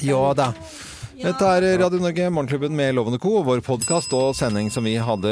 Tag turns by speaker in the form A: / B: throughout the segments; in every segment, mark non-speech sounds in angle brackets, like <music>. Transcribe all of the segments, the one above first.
A: Ja da. Dette er Radio Norge, Morgenklubben med Lovende Co. Vår podkast og sending som vi hadde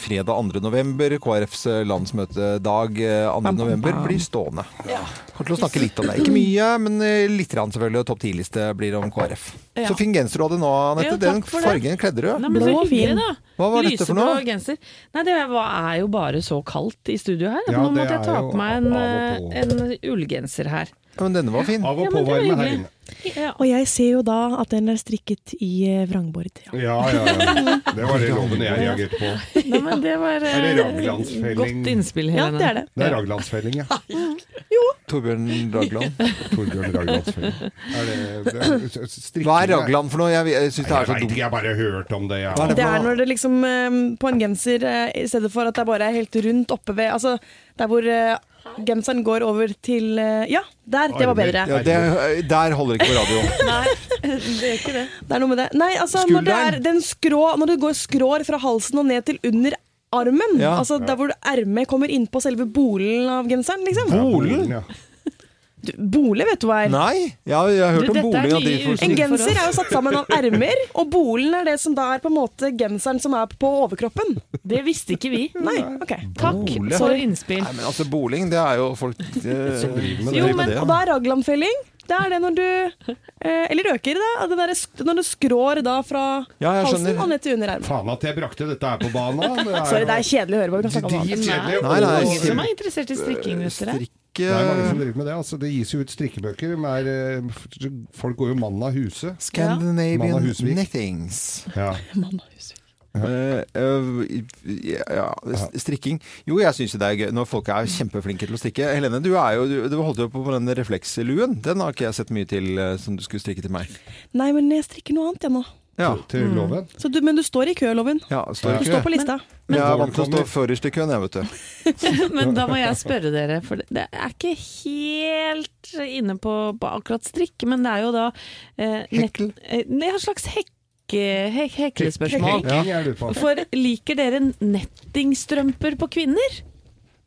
A: fredag 2. november. KrFs eh, landsmøtedag eh, 2. november blir stående. Kommer til å snakke litt om det. Ikke mye, men eh, litt rann selvfølgelig. og Topp 10-liste blir om KrF.
B: Ja.
A: Så fin genser du hadde nå,
B: Ja,
A: Anette.
B: takk
A: Den
B: for det.
A: fargen kledde
B: Nei,
A: du.
B: men så
C: Blå og fin.
B: hyggelig, da.
A: Hva var dette for
B: Lyseblå
A: noe?
B: genser. Nei, det var, er jo bare så kaldt i studio her. at
D: Ja,
B: Nå
D: det
B: måtte jeg ta
D: er jo
B: på meg en,
D: av og på.
B: en ullgenser her.
A: Ja, Men denne var fin.
D: Av og
B: Ja, men det var
D: påvarme her
B: hyggelig.
D: inne.
B: Ja.
C: Og jeg ser jo da at den er strikket i eh, vrangbord. Ja.
D: Ja, ja, ja. Det var det loven jeg reagerte på.
B: Nei, men det var eh,
D: <laughs> Er det raglandsfelling?
B: godt innspill,
C: ja,
B: Helene.
C: det er det.
D: Det er Raglandsfelling, ja.
A: Torbjørn Ragland.
D: Torbjørn Raglandsfelling. Er det, det er, strikking,
A: Hva er Ragland for noe? Jeg, jeg syns det
D: Jeg
A: er så
D: veit ikke,
A: dumt.
D: jeg bare hørt om det.
A: Hva er
D: Jeg.
A: det
E: Det
A: for
E: er
A: noe?
E: når det liksom eh, på en genser, eh, i stedet for at det bare er helt rundt oppe ved Altså der hvor eh, genseren går over til eh, Ja, der! Det var bedre.
A: Ja, det, der holder det ikke på radio.
B: Det er ikke det.
E: Det er noe med det. Nei, altså når det er
A: Skulderen?
E: den skrå Når det går skrår fra halsen og ned til under armen.
A: Ja.
E: Altså der hvor ermet kommer innpå selve bolen av genseren, liksom.
D: Bolen? Ja.
E: Du, Bole, vet du hva er.
A: Nei, jeg, har- jeg har hørt
B: Du,
A: om
B: dette er
A: bolig
B: nye
A: og
E: En
A: drivforsikring.
B: uttrykk.
E: genser er jo satt sammen
A: <laughs>
E: av ermer, og bolen er det som da er på en måte genseren som er på overkroppen.
B: Det visste ikke vi.
E: Nei, ok.
B: Takk
A: Ole.
B: for innspill.
A: Nei, men altså boling, det er jo folk eh, som driver med
B: Jo,
A: det.
B: men-
A: ja.
E: Og da er raglandfelling. Det er det når du eh, Eller røker, da. Den derre sk- når du skrår da fra
A: Ja, jeg
E: halsen
A: skjønner.
E: og ned til underarmen.
D: Faen at jeg brakte dette her på banen. da.
E: Sorry, det er kjedelig å høre på. Vi kan snakke om noe annet.
D: dritkjedelig.
A: Nei, nei,
B: Ingen
A: ikke-
B: som er interessert i strikking, vet dere.
D: Det er mange som
A: Strikke
D: driver med det. Altså, det gis jo ut strikkebøker. Med, eh, f- folk går jo mann av huse.
A: Scandinavian
D: Mann og Husvik.
A: knittings.
D: Ja.
A: Eh, eh, ja, s- strikking Jo, jeg syns det er gøy når folk er kjempeflinke til å strikke. Helene, du, er jo, du, du holdt jo på med den refleksluen. Den har ikke jeg sett mye til eh, som du skulle strikke til meg.
E: Nei, men jeg strikker noe annet, jeg nå.
A: Ja,
E: Mm.
D: Til loven.
E: Så du, men du står i kø, Loven.
A: ja
E: Du
A: står ikke
E: står
A: det?
E: på lista.
A: Jeg er
D: Når
A: vant til å stå
D: kommer-
A: først i køen, jeg, vet du.
B: <laughs> Men da må
A: <laughs>
B: jeg spørre dere, for det- det er ikke helt inne på, på akkurat strikk, men det er jo da eh,
A: Hekl?
B: eh, det er en slags hekke, hek, heklespørsmål.
D: Hekking jeg lurer på.
B: For liker dere nettingstrømper på kvinner?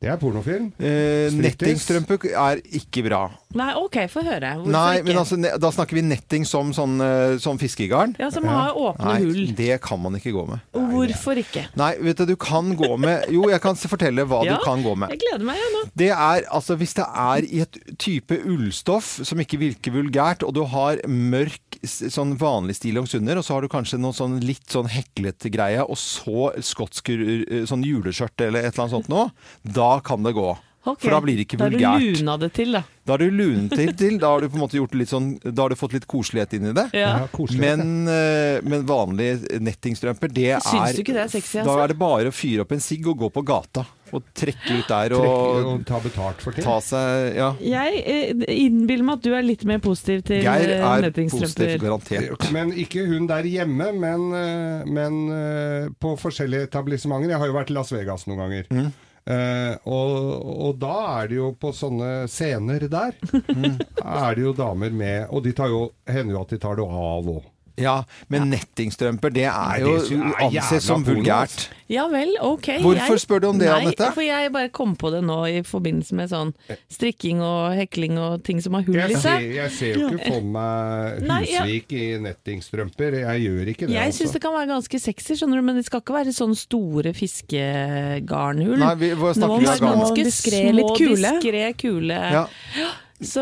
D: Det er pornofilm.
A: Eh,
D: Striptease?
A: nettingstrømpe er ikke bra.
B: Nei, ok, få høre. Hvorfor
A: Nei,
B: ikke?
A: men altså, ne da snakker vi netting som sånn, eh, sånn fiskegarn.
B: Ja, Som har åpne
A: Nei,
B: hull.
A: det kan man ikke gå med.
B: Hvorfor ikke?
A: Nei, vet du, du kan gå med Jo, jeg kan s- fortelle hva
B: Ja,
A: du kan gå med.
B: Jeg gleder meg, jeg nå.
A: Det er, altså Hvis det er i et type ullstoff som ikke virker vulgært, og du har mørk, s- sånn vanlig stillongs under, og så har du kanskje noe sånn litt sånn heklete greie, og så skotsk eh, sånn juleskjørt eller et eller annet sånt noe, da kan det gå.
B: Ok,
A: For da blir det ikke
B: Da har du
A: vulgært.
B: luna det til, da.
A: Da har du lunet til, til, da har du på en måte gjort litt sånn, da har du fått litt koselighet inn i det.
B: Ja.
D: Ja, koselig.
A: Men,
D: altså.
A: eh, men vanlige nettingstrømper, det
B: Syns du
A: er
B: ikke det er sexy,
A: Da
B: altså?
A: er det bare å fyre opp en sigg og gå på gata. Og trekke ut der
D: Trekke
A: og
D: og ta betalt for ting.
A: ta seg Ja.
B: Jeg eh, innbiller meg at du er litt mer positiv til
A: Geir
B: eh,
A: er positiv,
B: nettingstrømper.
A: garantert.
D: Men ikke hun der hjemme, men, eh, men eh, på forskjellige etablissementer. Jeg har jo vært i Las Vegas noen ganger. Eh, og, og da er det jo på sånne scener der, er det jo damer med Og de tar jo, hender jo at de tar det av òg.
A: Ja, men nettingstrømper, det
D: Nei,
A: er
D: det
A: jo
D: synes jeg er
A: ansett
D: jævla
A: som
D: porno,
A: vulgært.
D: altså.
B: Ja vel, ok.
A: Hvorfor spør du om det,
B: Nei,
A: Anette?
B: For jeg bare kom på det nå i forbindelse med sånn strikking og hekling og ting som har hull i
D: Jeg ser,
B: seg.
D: jeg ser jo ikke for meg
B: Nei, jeg-
D: Husvik i nettingstrømper. Jeg gjør ikke det. altså.
B: Jeg syns det kan være ganske sexy, skjønner du, men det skal ikke være sånn store fiskegarnhull.
A: Nei, vi- hva snakker vi
B: Nå
A: om
B: må
A: garn?
B: ganske
E: Diskré,
B: små,
E: litt kule.
B: diskré kule.
A: Ja.
B: Så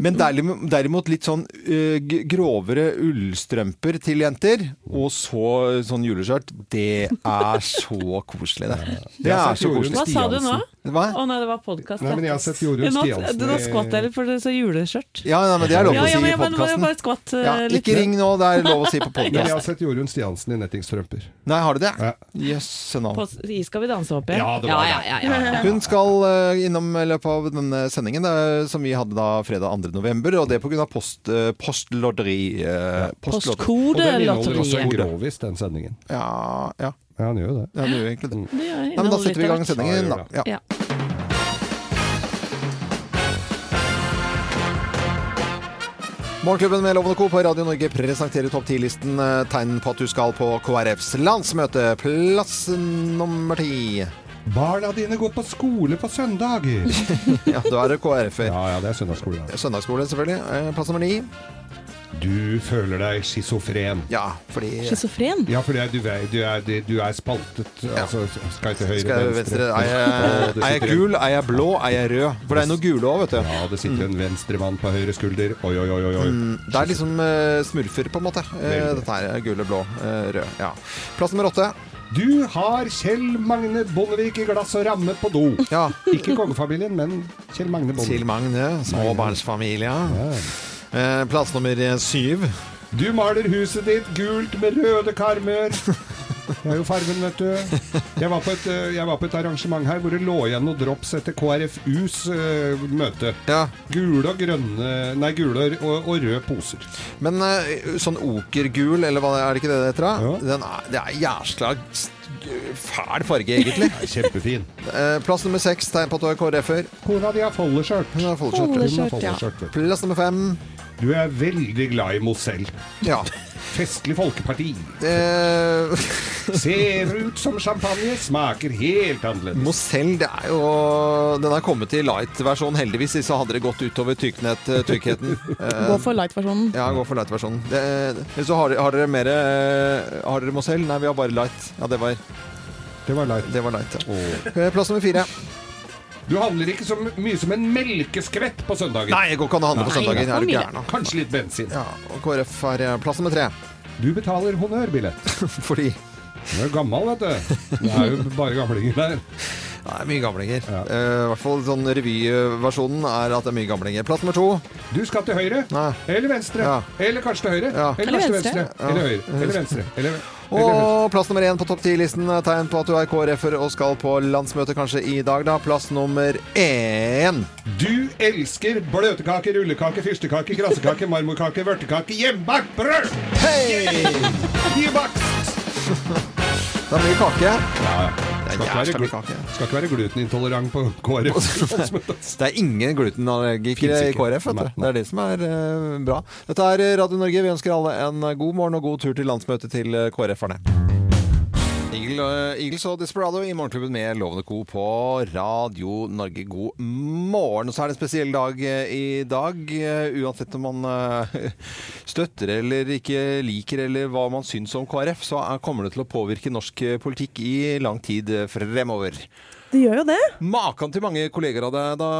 A: Men derim- derimot litt sånn ø, g- grovere ullstrømper til jenter, og så ø, sånn juleskjørt, det er så koselig, det. Det
D: Jeg har
A: er
D: sett
A: så
D: Jorunn
B: Hva
A: koselig.
B: sa du nå?
A: Hva?
B: Å nei, det var podkast.
D: Nei, men jeg har sett Jorunn Stiansen
B: Nå
D: i-
B: skvatt jeg litt, for det så juleskjørt.
A: Ja, nei, men det er lov
B: Ja,
A: å
B: ja,
A: si
B: men
A: i
B: jeg bare, bare,
A: podkasten.
B: bare skvatt eh,
A: Ja,
B: litt.
A: ikke ring nå, det er lov å si på
D: Men jeg
A: podkast.
D: har sett Jorunn Stiansen i nettingstrømper.
A: Nei, har du det?
D: Ja.
A: Jøsse navn.
B: På, i Skal vi danse, håper jeg.
D: Ja, det var
B: ja,
D: det.
B: ja, ja, ja.
A: Hun skal eh, innom i løpet av denne sendingen eh, som vi hadde da fredag 2. november, og det pga. post, eh, postlotteri. eh, postlotteri.
D: Og den inneholder også
B: Postkodelotteriet.
D: en grovis, den sendingen.
A: Ja, ja,
D: Ja, han gjør jo det.
A: ja, det gjør egentlig det.
B: Det gjør
A: Nei, men da
B: inneholder
A: setter vi i gang
B: litt av
A: sendingen, da.
D: Ja,
A: Ja.
B: hvert. Ja.
A: Morgenklubben med Lovende Co. på Radio Norge presenterer topp 10-listen. eh, Tegn på at du skal på KrFs landsmøte. Plass nummer ti.
D: Barna dine går på skole på søndager!
A: Ja, da er det KrF-er.
D: Ja, ja, det er søndagsskole. Ja.
A: Søndagsskole, selvfølgelig. Eh, Plass nummer ni.
D: Du føler deg schizofren.
A: Ja, fordi
C: Schizofren?
D: Ja, for det er- du, er- du, er, du- du er spaltet. Altså, skal jeg til høyre,
A: skal jeg venstre, er jeg,
D: Å, det
A: er jeg
D: sitter en-
A: gul, er jeg blå, er jeg rød? For det er noe gule òg, vet du. Mm.
D: Ja, det sitter en venstremann på høyre skulder. Oi, oi, oi, oi. oi.
A: Det er liksom eh, smurfer, på en måte. Eh,
D: Veldig.
A: dette her er gule, blå, eh, rød. Ja. Plass nummer åtte.
D: Du har Kjell Magne Bondevik i glass og ramme på do.
A: Ja.
D: Ikke kongefamilien, men Kjell Magne
A: Til
D: Bondevik.
A: Magne, småbarnsfamilie. Eh, plass nummer eh, syv.
D: Du maler huset ditt gult med røde karmer. Det er jo fargen, vet du. Jeg var på et, eh, jeg var på et arrangement her hvor det lå igjen noen drops etter KrFUs eh, møte.
A: Ja.
D: Gule og grønne Nei, gule og, og røde poser.
A: Men eh, sånn okergul, eller hva er det ikke det det heter? da?
D: Ja.
A: Den er, det er jævla st- fæl farge,
D: <laughs>
A: egentlig.
D: Det er Kjempefin.
A: Eh, plass nummer seks, tegn på at du er KrF-er.
D: Kona di har folderskjørt.
A: Hun har foldskjørt.
D: Hun har
C: Folderskjørt, ja.
D: folderskjørt, vet du.
A: Plass nummer fem.
D: Du er veldig glad i Mozell.
A: Ja.
D: Festlig folkeparti.
A: Eh,
D: Ser ut som champagne, smaker helt annerledes.
A: Mozell, det er jo Den er kommet i light-versjon, heldigvis. Så hadde det gått utover tykknet, eh, tykkheten. Eh,
C: Gå for light-versjonen.
A: ja, gå for light-versjonen. Det- eh, Så har, har dere mer eh, Har dere Mozell? Nei, vi har bare light. Ja, det var,
D: Det var light.
A: det var light. Ja.
D: Åh.
A: Eh, Plass nummer fire.
D: Du handler ikke så mye som en melkeskvett på søndager.
A: Nei, det går ikke an å handle på
B: Nei,
A: søndager. Er du
B: for mye.
A: gæren? da?
D: Kanskje litt bensin.
A: Ja, og KrF er eh, plass nummer tre. <laughs>
D: Du betaler honnørbillett.
A: Fordi
D: Du er gammel, vet du. Det er jo bare gamlinger der.
A: det er mye gamlinger.
D: Ja.
A: Eh, I hvert fall sånn revyversjonen er at det er mye gamlinger. Plass nummer to.
D: Du skal til høyre.
A: Nei.
D: Eller venstre.
A: Ja.
D: Eller kanskje til høyre.
A: Ja.
D: Eller kanskje til venstre.
A: Ja.
D: Eller høyre. Eller venstre. Eller, eller høyre.
A: Og plass nummer én på topp ti-listen. er Tegn på at du er KrF-er og skal på landsmøte kanskje i dag, da. Plass nummer én.
D: Du elsker bløtkake, rullekake, fyrstekake, krassekake, marmorkake, vørtekake, hjemmebakt brød!
A: Hei!
D: Hjemmebakt!
A: Det er mye kake.
D: Ja,
A: Det er
D: skal,
A: jævla
D: ikke
A: mye
D: være,
A: kake.
D: glu- skal ikke være glutenintolerant på
A: <laughs>
D: KrF.
A: Det er ingen glutenallergikere
D: Finnes
A: i
D: ikke.
A: KrF. Vet
D: Nei,
A: du. Det er det som er eh, bra. Dette er Radio Norge. Vi ønsker alle en eh, god morgen og god tur til landsmøtet til eh, KrF-erne. Eagle, eh, Eagles og Desperado i Morgenklubben med Lovende Co. på Radio Norge. God morgen. Så er det en spesiell dag eh, i dag. eh, Uansett om man eh, <laughs> støtter eller ikke liker eller hva man syns om KrF, så er- kommer det til å påvirke norsk eh, politikk i lang tid eh, fremover.
E: Det gjør jo det.
A: Maken til mange kolleger av deg da,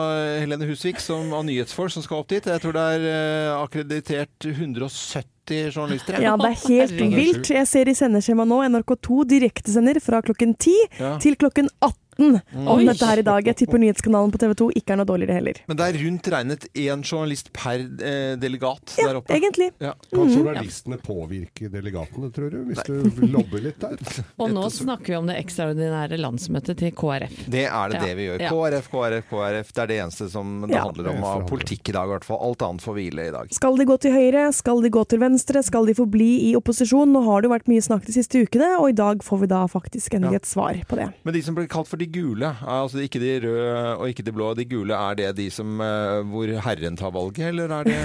A: Helene Husvik, som av nyhetsfolk som skal opp dit. Jeg tror det er eh, akkreditert 170 journalister.
E: Ja, det er <laughs> helt
B: Herregud.
E: vilt. Jeg ser i sendeskjemaet nå NRK2 direktesender fra klokken 10
A: Ja.
E: til klokken 18 om
B: Oi.
E: dette her i dag. Jeg tipper nyhetskanalen på TV 2 ikke er noe dårligere heller.
A: Men det er rundt regnet én journalist per eh, delegat der oppe.
E: Egentlig.
A: Ja.
D: Kan journalistene påvirke delegatene, tror du? Hvis du lobber litt der?
B: Og nå snakker vi om det ekstraordinære landsmøtet til KrF.
A: Det er det,
B: Ja.
A: det vi gjør.
B: Ja.
A: KrF, KrF, KrF. Det er det eneste som det
E: Ja.
A: handler om av politikk i dag, i hvert fall. Alt annet får hvile i dag.
E: Skal de gå til høyre? Skal de gå til venstre? Skal de forbli i opposisjon? Nå har det jo vært mye snakk de siste ukene, og i dag får vi da faktisk endelig et svar på det.
A: Men de som blir kalt for de gule, er altså ikke de røde og ikke de blå, de gule, er det de som eh, hvor Herren tar valget, eller er det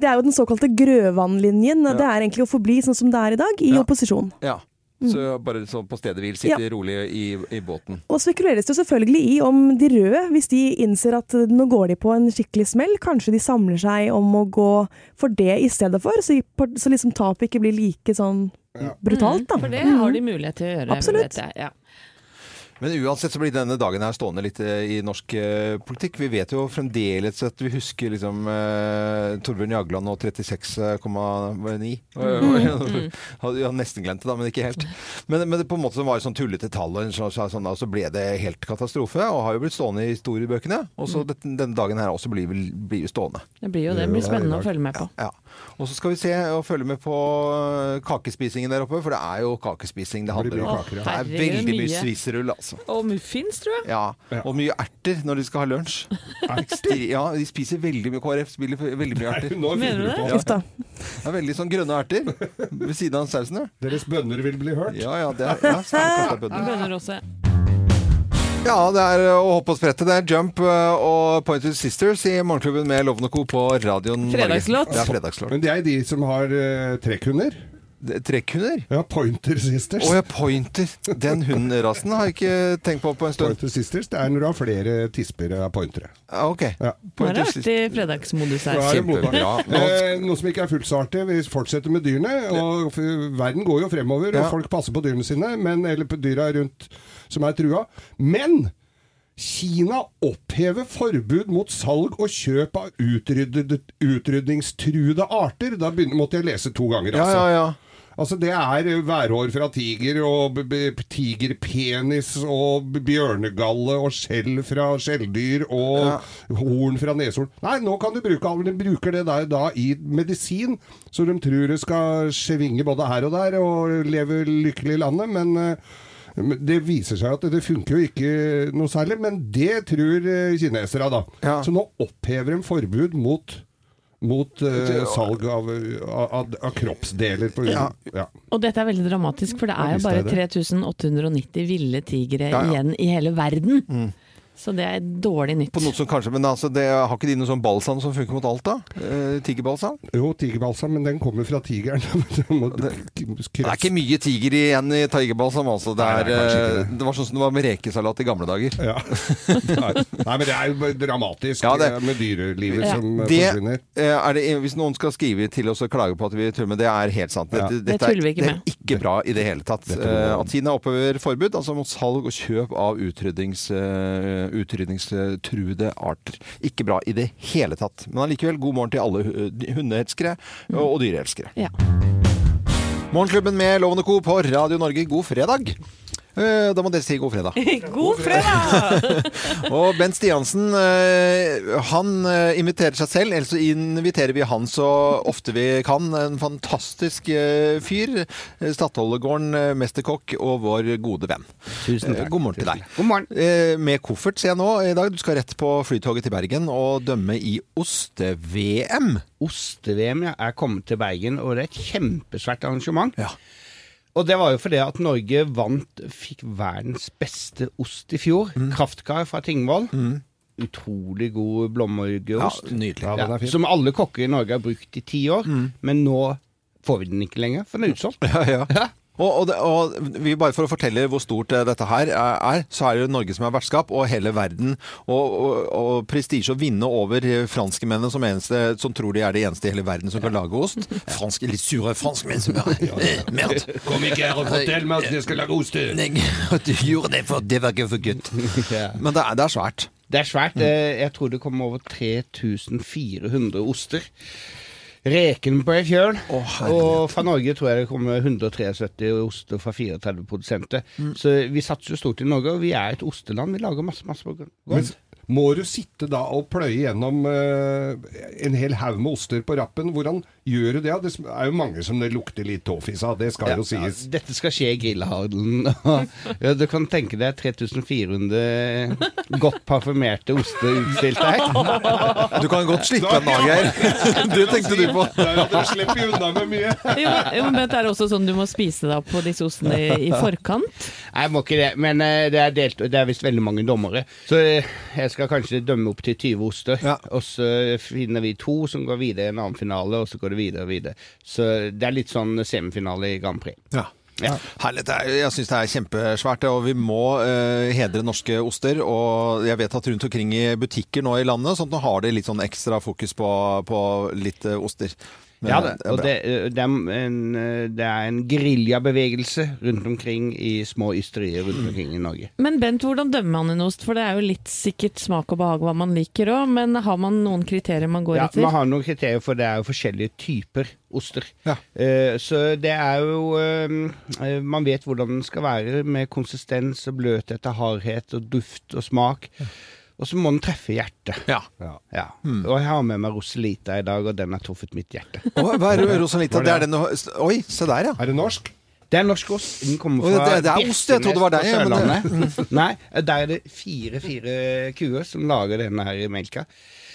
E: Det er jo den såkalte Grøvan-linjen. Det er egentlig å forbli sånn som det er i dag, i
A: Ja.
E: opposisjon.
A: Ja. Så bare sånn på stedet hvil, sitte
E: Ja.
A: rolig i, i båten.
E: Og spekuleres det selvfølgelig i om de røde, hvis de innser at nå går de på en skikkelig smell, kanskje de samler seg om å gå for det i stedet for, så, så liksom tapet ikke blir like sånn brutalt, da. Mm.
B: Mm. For det har de mulighet til å gjøre.
E: Absolutt.
B: vet jeg, ja.
A: Men uansett så blir denne dagen her stående litt eh, i norsk eh, politikk. Vi vet jo fremdeles at vi husker liksom eh, Torbjørn Jagland og eh,
B: Mhm.
A: 36,9.
B: <laughs>
A: <laughs> Mm. Jeg har nesten glemt det da, men ikke helt. Men, men det på en måte som var et sånn tullete tall, og en sånn, sånn, sånn, og så ble det helt katastrofe. Og har jo blitt stående i historiebøkene. Og så dette- denne dagen her også blir, vel- blir jo stående.
B: Det blir jo det.
D: Det
B: blir
D: er
B: spennende
D: i
B: å
D: dag.
B: følge med på.
A: Ja. Og så skal vi se og følge med på eh, kakespisingen der oppe, for det er jo kakespising det
D: Det
A: handler
D: blir
A: om.
D: kaker,
A: Det
D: ja.
A: er
B: Herregud,
A: veldig mye
B: mye.
A: sviserull, altså.
B: Og muffins, tror jeg.
A: Ja.
D: Ja.
A: Og mye erter når de skal ha lunsj. Ekstri- Ja, de spiser veldig mye KrF, spiller veldig mye erter.
D: Nå
B: Mener du
D: finner du på.
E: Uff da.
A: Det er veldig sånn grønne erter ved siden av sausen. ja.
D: Deres bønner vil bli hørt.
A: Ja, ja, det er, ja, stakkars bønder.
B: Bønner også.
A: Ja, det er øh, å hoppe og sprette. Det er Jump eh, og Pointed Sisters i Morgenklubben med Loven og Co. på radioen. Norge.
B: Fredagslåt.
A: Det er fredagslåt.
D: Men det er de som har eh, trekkhunder.
A: d- trekkhunder?
D: Ja, Pointer Sisters.
A: Å ja, pointer. Den hundrasen har jeg ikke tenkt på på en stund.
D: Pointer Sisters, Det er når du har flere tisper av pointere.
A: Ja, Ok.
D: Ja.
B: Nå er det
A: Pointer Sisters.
B: artig fredagsmodus
D: Da
B: her.
D: er det mottak.
A: Kjempebra.
D: Eh, noe som ikke er fullt så artig. Vi fortsetter med dyrene. og f Verden går jo fremover,
A: Ja.
D: og folk passer på dyrene sine, men, eller på dyra rundt som er trua. Men Kina opphever forbud mot salg og kjøp av utryddet, utrydningstruede arter. Da begynner, måtte jeg lese to ganger,
A: Ja,
D: altså.
A: ja, ja.
D: Altså Det er værhår fra tiger, og b- b- tigerpenis, og b- bjørnegalle, og skjell fra skjelldyr, og horn fra neshorn. Nei, nå kan du bruke alt, men de bruker det der da i medisin, så de tror det skal svinge både her og der, og leve lykkelig i landet, men eh, men det viser seg at det funker jo ikke noe særlig, men det tror eh, kinesere da.
A: Ja.
D: Så nå opphever de forbud mot, mot eh,
A: Det-
D: salg av, av, av kroppsdeler. På,
A: Ja.
D: ja.
B: Og dette er veldig dramatisk, for det er jo
D: visst
B: bare
D: er det.
B: 3890 ville tigre
A: Ja, ja.
B: igjen i hele verden. Så det er dårlig nytt.
A: På noe som kanskje, men altså, det, har ikke de noe sånn balsam som funker mot alt, da? Eh, Tigerbalsam?
D: Jo, tigerbalsam, men den kommer fra tigeren. <laughs>
A: Det er ikke mye tiger igjen i tigerbalsam, altså. Det,
D: Nei,
A: er,
D: det er kanskje
A: eh,
D: ikke det.
A: det var sånn som det var med rekesalat i gamle dager. <laughs>
D: ja. Nei, Nei, men det er jo bare dramatisk
A: Ja, det-
D: eh, med dyrelivet
B: Ja.
D: som eh,
A: Det,
D: forsvinner.
A: eh, er det, hvis noen skal skrive til oss og klage på at vi tuller med det, er helt sant. Dette,
D: Ja.
A: dette
B: Det tuller vi
A: er,
B: ikke
A: det
B: med.
A: er ikke bra i det hele tatt.
D: Det tuller vi
A: Eh,
D: med.
A: At Kina opphever forbud altså mot salg og kjøp av utryddings, eh, utrydningstruede arter. Ikke bra i det hele tatt. Men allikevel, god morgen til alle hu- hundeelskere og, og dyreelskere.
B: Ja.
A: Morgenklubben med Lovende Co. på Radio Norge, god fredag! Eh, Da må dere si god fredag.
B: <laughs> God fredag!
A: Og Bent Stiansen, eh, han eh, inviterer seg selv, ellers så inviterer vi han så ofte vi kan. En fantastisk eh, fyr. Eh, Stadholdegården, eh, mesterkokk og vår gode venn.
F: Tusen
A: Eh, God morgen til deg.
F: God morgen.
A: Eh, Med koffert, ser jeg nå i dag. Du skal rett på flytoget til Bergen og dømme i oste-VM.
F: Oste-VM ja, er kommet til Bergen, og det er et kjempesvært arrangement.
A: Ja.
F: Og det var jo fordi at Norge vant, fikk verdens beste ost i fjor.
D: Mm.
F: Kraftkar fra Tingvoll. Utrolig god blåmørgeost.
A: nydelig.
D: Ja, den er fin. Mm.
F: som alle kokker i Norge har brukt i ti år. Men nå får vi den ikke lenger, for den er
D: <laughs>
F: utsolgt.
A: <laughs> Ja, ja. Og, og, det- og vi bare for å fortelle hvor stort eh, dette her er, er, så er det Norge som er vertskap, og hele verden. Og, og, og prestisje å vinne over eh, franskmennene som, eneste, som tror de er det eneste i hele verden som kan lage ost. <laughs> Franske, litt sure franskmenn som er eh, Merd!
D: Kom ikke her og fortell meg at jeg skal lage ost!
A: Nei, at du gjorde det, for det var ikke for gutt.
F: <laughs> Ja.
A: Men det er, det er svært.
F: Det er svært.
D: Mm.
F: Eh, Jeg tror det kommer over 3400 oster. Rekenbrød fjøl.
A: Å, herlighet.
F: og fra Norge tror jeg det kommer 173 oster fra 34 produsenter.
D: Mm.
F: Så vi satser jo stort i Norge, og vi er et osteland. Vi lager masse, masse godt.
D: Men må du sitte da og pløye gjennom eh, en hel haug med oster på rappen? Hvordan gjør du det? Det er jo mange som det lukter litt tåfis av, det skal
F: Ja,
D: jo sies.
F: ja, dette skal skje i grillhandelen. <laughs> og- Ja, du kan tenke deg 3400 godt parfymerte oster utstilt
D: <laughs>
F: her.
A: Du kan godt slippe en dag her. Det tenkte du på.
D: Nei, Du slipper jo unna med mye.
B: <laughs> Jo, jo, men det er også sånn du må spise deg opp på disse ostene i, i forkant.
F: Nei, jeg må ikke det, men eh, det er, delt, det er visst veldig mange dommere. Så eh, jeg skal kanskje dømme opp til 20 oster.
A: Ja.
F: Og så finner vi to som går videre i en annen finale, og så går det videre og videre. Så det er litt sånn semifinale i Grand Prix.
A: Ja.
F: Ja.
A: Herlig, det er, jeg syns det er kjempesvært, og vi må eh, hedre norske oster. Og jeg vet at rundt omkring i butikker nå i landet sånn at nå har de litt sånn ekstra fokus på, på litt eh, oster. Men
F: Ja, det,
A: er
F: og
A: bra.
F: det, eh, det, er en, eh, det er en geriljabevegelse rundt omkring i små ysterier rundt omkring i Norge.
B: Men Bent, hvordan dømmer man en ost? For det er jo litt sikkert smak og behag hva man liker òg, men har man noen kriterier man går
F: Ja,
B: etter?
F: man har noen kriterier, for det er jo forskjellige typer oster.
A: Ja.
F: Eh, så det er jo eh, eh, Man vet hvordan den skal være, med konsistens og bløthet og hardhet og duft og smak. Og så må den treffe hjertet.
A: ja. Hmm.
D: Ja.
F: Ja. Og jeg har med meg Roselita i dag, og den har truffet mitt hjerte.
A: Og hva er det, Rosalita?
D: Var
A: Det
D: det-
A: er den du- Oi, se der, ja.
D: Er det norsk?
F: Det er norsk ost. Den kommer
A: Å,
F: fra
A: det- det er ost, jeg trodde det var deg, ja, men
F: men det... <laughs> Nei, der er det fire-fire kuer som lager denne her melka.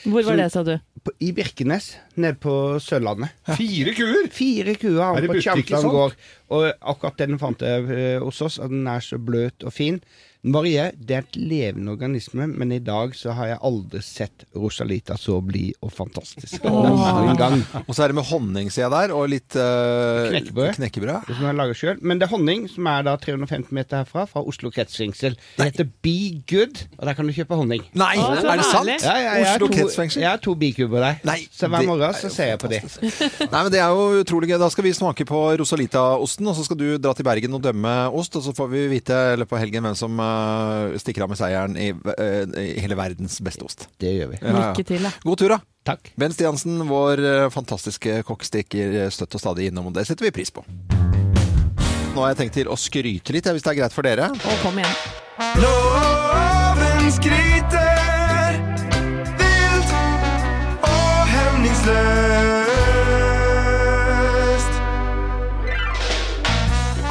B: Hvor var det, sa du?
F: På, I Birkenes nede på Sørlandet.
D: Fire kuer!
F: Fire kuer har
D: Er
F: han
D: det
F: på
D: butikk i
F: Champion
D: sånt?
F: gård. Og akkurat den fant jeg eh, hos oss. at Den er så bløt og fin. Den varierer. Det er et levende organisme, men i dag så har jeg aldri sett Rosalita så blid og fantastisk. Noen gang.
A: Og så er det med honning, ser jeg der, og litt eh,
F: Knekkebrød.
A: knekkebrød.
F: Det som jeg lager selv. Men det er honning, som er da 350 meter herfra, fra Oslo kretsfengsel. Det heter Be Good, og der kan du kjøpe honning.
A: Nei,
B: Å, så
A: er det sant?
B: herlig.
F: Ja, ja, jeg har
A: Oslo
F: to-
A: kretsfengsel.
F: Jeg har to bikuber der.
A: Nei,
F: så hver
A: det
F: morgen
A: er jo
F: så ser jeg på det.
A: Nei, men Det er jo utrolig gøy. Da skal vi smake på Rosalita-osten, og så skal du dra til Bergen og dømme ost. Og så får vi vite i løpet av helgen hvem som eh, stikker av med seieren i, eh, i hele verdens beste ost.
F: Det gjør vi.
A: Ja, ja.
B: Lykke til, da.
A: God tur, da.
F: Takk.
A: Ben Stiansen, vår eh, fantastiske kokk, stikker eh, støtt og stadig innom, og det setter vi pris på. Nå har jeg tenkt til å skryte litt, jeg, hvis det er greit for dere.
B: Å, kom igjen.
G: Loven skryter vilt og hemningsløst.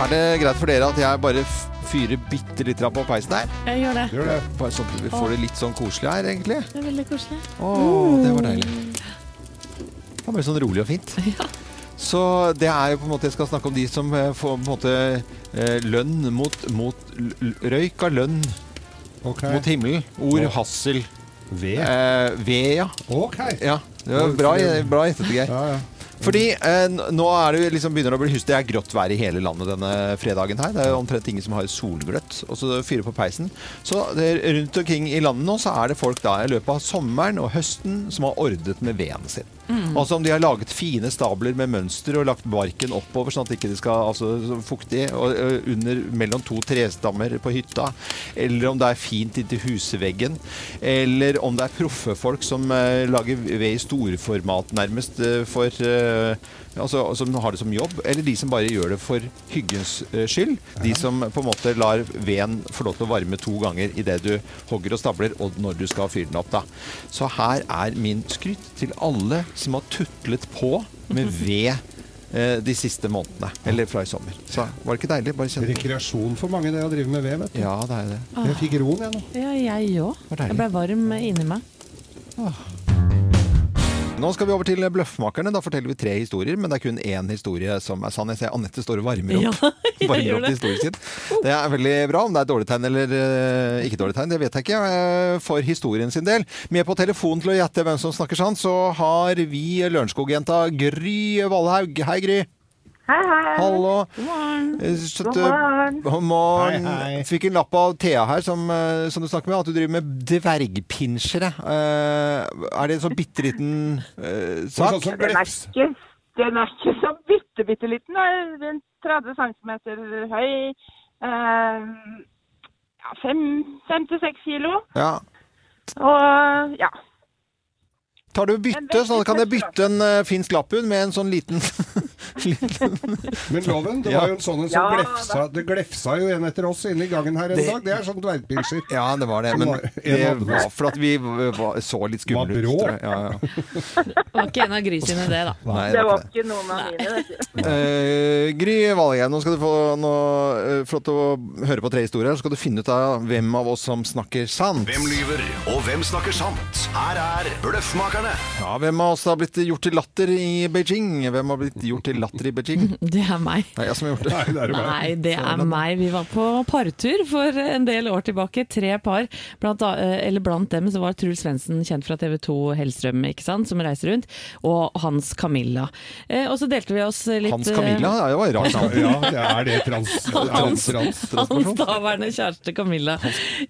A: Er det greit for dere at jeg bare f- fyrer bitte litt på peisen her?
B: Jeg gjør det.
D: Gjør det.
A: Bare sånn at vi får det litt sånn koselig her, egentlig.
B: Det er veldig koselig.
A: Å, det var deilig. Det var bare sånn rolig og fint. Så det er jo på en måte, jeg skal snakke om de som eh, får på en måte eh, lønn mot, mot l- l- røyk av lønn
D: Ok.
A: mot himmelen. Ord hassel.
D: Ved.
A: Eh, ved, ja.
D: Ok.
A: ja. Det var bra, bra gjettet, Geir.
D: Ja, ja.
A: Fordi eh, n- nå er det jo liksom begynner det å bli hust. Det er grått vær i hele landet denne fredagen her. Det er jo omtrent ingen som har solgløtt. Og så fyrer på peisen. Så det, er- rundt omkring i landet nå så er det folk da i løpet av sommeren og høsten som har ordnet med veden sin. Altså om de har laget fine stabler med mønster og lagt barken oppover sånn at ikke det skal altså, så fuktig og, ø, under mellom to trestammer på hytta. Eller om det er fint inntil husveggen. Eller om det er proffe folk som eh, lager ved i storformat nærmest eh, for eh, Altså som har det som jobb. Eller de som bare gjør det for hyggens eh, skyld. De som på en måte lar veden få lov til å varme to ganger idet du hogger og stabler, og når du skal fyre den opp, da. Så her er min skryt til alle som har tutlet på med ved eh, de siste månedene. Eller fra i sommer. Så var det ikke deilig? Bare kjenn
D: Rekreasjon for mange, det å drive med ved, vet du.
A: Ja, det er det.
D: Jeg fikk roen, jeg nå.
B: Ja, jeg òg.
A: var
B: Jeg
A: deilig.
B: ble varm inni meg.
A: Nå skal vi over til Bløffmakerne. Da forteller vi tre historier, men det er kun én historie som er sann. Jeg ser Anette står og varmer opp.
B: Ja, <laughs> jeg
A: <laughs> varmer
B: gjør
A: opp
B: det. Oh.
A: historien sin. Det er veldig bra. Om det er dårlig tegn eller eh, ikke dårlig tegn, det vet jeg ikke. eh, For historien sin del. Med på telefon til å gjette hvem som snakker sant, så har vi Lørenskog-jenta Gry Valhaug. Hei, Gry.
H: Hei, hei.
A: Hallo.
B: God morgen.
A: Eh, så at,
H: God morgen.
A: eh, God morgen.
F: Hei, hei.
A: Fikk en lapp av Thea her som, eh, som du snakker med, at du driver med dvergpinsjere. Eh, Er det en sånn bitte liten eh, sak?
D: Sånn som
H: Den er
D: blefs.
H: ikke, den er ikke så bitte, bitte liten. Den er rundt 30 cm høy. Eh, ja, 5-6 kilo.
A: Ja.
H: Og ja.
A: Tar du
H: En
A: bytte,
H: veldig
A: så da kan jeg
H: tøff
A: bytte en eh, finsk lapphund med en sånn liten <laughs>
D: Men loven, det
A: Ja.
D: var jo en sånn en som
H: Ja,
D: glefsa, det glefsa jo en etter oss inne i gangen her en dag. Det er sånn dvergpinsjer.
A: Ja, det var det,
D: men
A: men det
D: en hadde-
A: var for at vi var, så litt
D: Var
A: skumle ut.
D: brå.
A: tror jeg. Ja, ja.
B: Det var ikke en av grisene, det, da.
A: Nei, det
H: Det
A: var
H: var
A: ikke det.
H: ikke noen av mine. vet du.
A: Eh, Gry Valgheim, nå skal du få noe eh, flott å høre på tre historier. Så skal du finne ut av hvem av oss som snakker sant.
G: Hvem lyver, og hvem snakker sant? Her er Bløffmakerne.
A: Ja, hvem av oss har blitt gjort til latter i Beijing? Hvem har blitt gjort til latter i Beijing?
B: <laughs> Det er meg.
A: Det er jeg som har gjort det.
D: Nei, det er jo bare-
B: Nei, det er meg. Vi var på partur for en del år tilbake. Tre par. Blant, da- eller blant dem så var Truls Svendsen, kjent fra TV 2 Hellstrøm, ikke sant, som reiser rundt. Og Hans Camilla. Eh, Og så delte vi oss litt eh,
A: Hans Camilla, det var et rart navn.
D: Ja, det er det trans... trans, trans.
B: eh, Hans daværende kjæreste Camilla.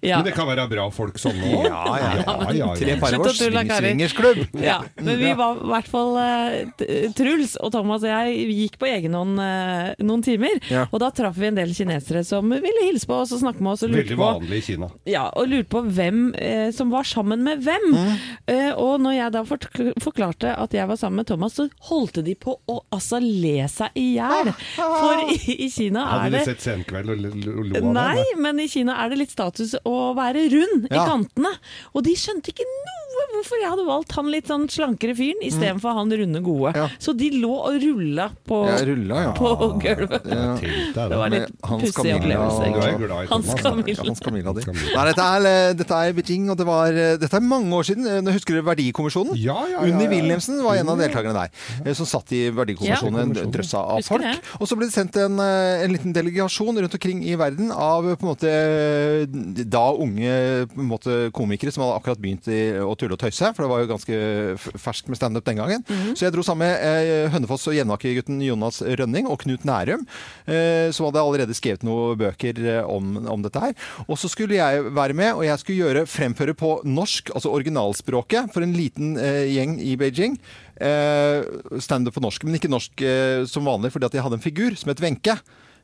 B: Ja.
D: Men det kan være bra folk sånn òg.
A: Ja, ja, ja. Tre par
B: Slutt
A: i vår
B: å tulle, Kari.
A: swingersklubb.
B: Ja, men vi var i hvert fall eh, t- Truls og Thomas og jeg gikk på egen hånd eh, noen timer.
A: Ja.
B: Og da traff vi en del kinesere som ville hilse på oss og snakke med oss. Og lurte
D: Veldig
B: på,
D: vanlig i Kina.
B: ja, og lurte på hvem eh, som var sammen med hvem.
A: Mm.
B: Eh, og når jeg da fort forklarte at jeg var sammen med Thomas, så holdt de på å altså le seg i hjel.
A: <laughs>
B: For i, i Kina er
D: Hadde de
B: det
D: sett Senkveld og lo lo- lo av
B: Nei,
D: det?
B: men i Kina er det litt status å være rund
A: Ja.
B: i kantene. Og de skjønte ikke noe hvorfor jeg hadde valgt han litt sånn slankere fyren istedenfor han runde gode.
A: Mm. Ja.
B: Så de lå og rulla på,
A: Jeg rulla, ja.
B: på gulvet.
A: Ja.
D: Tilt
B: Det var
A: Med
B: litt
A: Hans
B: pussig
A: Camilla
B: opplevelse.
A: og-
D: Du er
B: egentlig.
D: jo glad i
B: Hans
D: Thomas. da.
B: Camilla.
A: Hans Camilla di. Nei, dette er, eh, dette er Beijing, og det var, eh, dette er mange år siden. Eh, Nå Husker du Verdikommisjonen?
D: Ja, ja, ja, ja.
A: Unni Wilhelmsen var en av deltakerne der, eh, som satt i Verdikommisjonen,
D: Ja.
A: en drøss av
B: Husker
A: folk.
B: det.
A: Og så ble det sendt en, eh, en liten delegasjon rundt omkring i verden av eh, på en måte eh, da unge på en måte, komikere som hadde akkurat begynt i, å tulle og tøyse, for det var jo ganske f- ferskt med standup den gangen.
B: Mhm.
A: Så jeg dro sammen med eh, Hønefoss og Jevnaker-gutten Jonas Rønning og Knut Nærum, eh, som hadde allerede skrevet noen bøker eh, om, om dette her. Og så skulle jeg være med, og jeg skulle gjøre, fremføre på norsk, altså originalspråket, for en liten eh, gjeng i Beijing. Eh, Standup på norsk, men ikke norsk eh, som vanlig, fordi at jeg hadde en figur som het Wenche.